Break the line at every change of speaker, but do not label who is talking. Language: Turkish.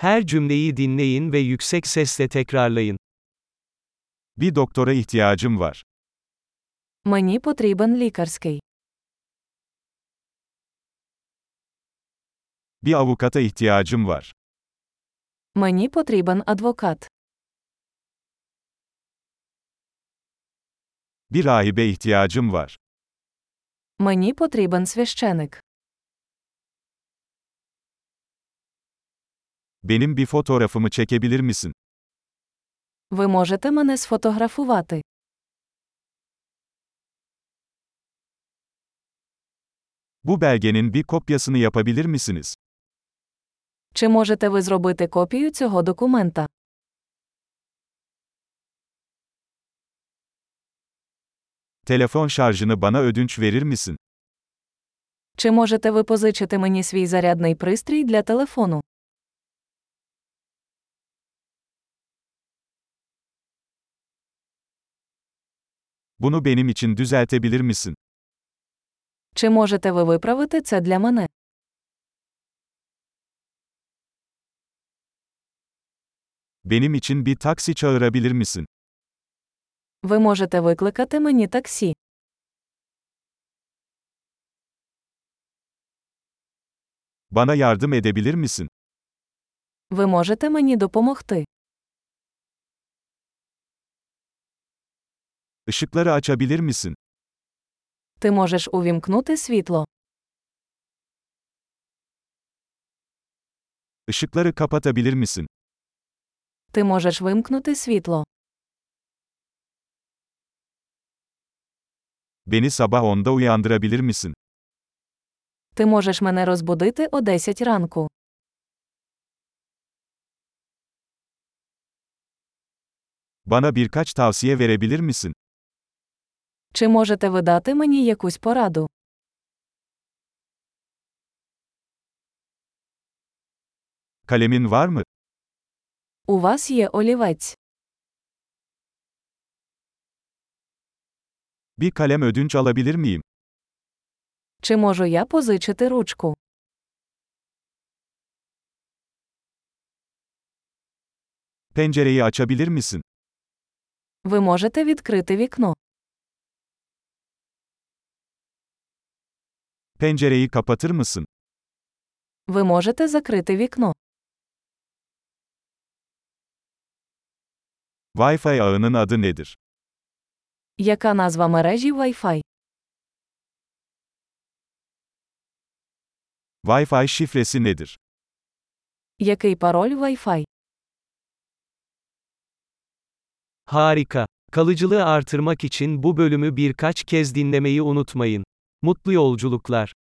Her cümleyi dinleyin ve yüksek sesle tekrarlayın.
Bir doktora ihtiyacım var.
Мені потрібен лікарський.
Bir avukata ihtiyacım var.
Мені потрібен адвокат.
Bir rahibe ihtiyacım var.
Мені потрібен священик.
Benim bir fotoğrafımı çekebilir misin?
Ви можете мене сфотографувати.
Bu belgenin bir kopyasını yapabilir misiniz?
Чи можете ви зробити копію цього документа?
Telefon şarjını bana ödünç verir misin?
Чи можете ви позичити мені свій зарядний пристрій для телефону?
Bunu benim için düzeltebilir misin?
Чи можете ви виправити це для мене?
Benim için bir taksi çağırabilir misin?
Ви можете викликати мені таксі.
Bana yardım edebilir misin?
Ви можете мені допомогти.
Işıkları açabilir misin?
Ти можеш увімкнути світло.
Işıkları kapatabilir misin?
Ти можеш вимкнути світло.
Beni sabah 10'da uyandırabilir misin?
Ти можеш мене розбудити о 10 ранку.
Bana birkaç tavsiye verebilir misin?
Чи можете ви дати мені якусь пораду?
Kalemin var mı?
У вас є олівець.
Bir kalem ödünç alabilir miyim?
Чи можу я позичити ручку?
Pencereyi açabilir misin?
Ви можете відкрити вікно.
Pencereyi kapatır mısın?
Ви можете закрити вікно.
Wi-Fi ağının adı nedir?
Яка назва мережі Wi-Fi?
Wi-Fi şifresi nedir?
Який пароль Wi-Fi?
Harika. Kalıcılığı artırmak için bu bölümü birkaç kez dinlemeyi unutmayın. Mutlu yolculuklar.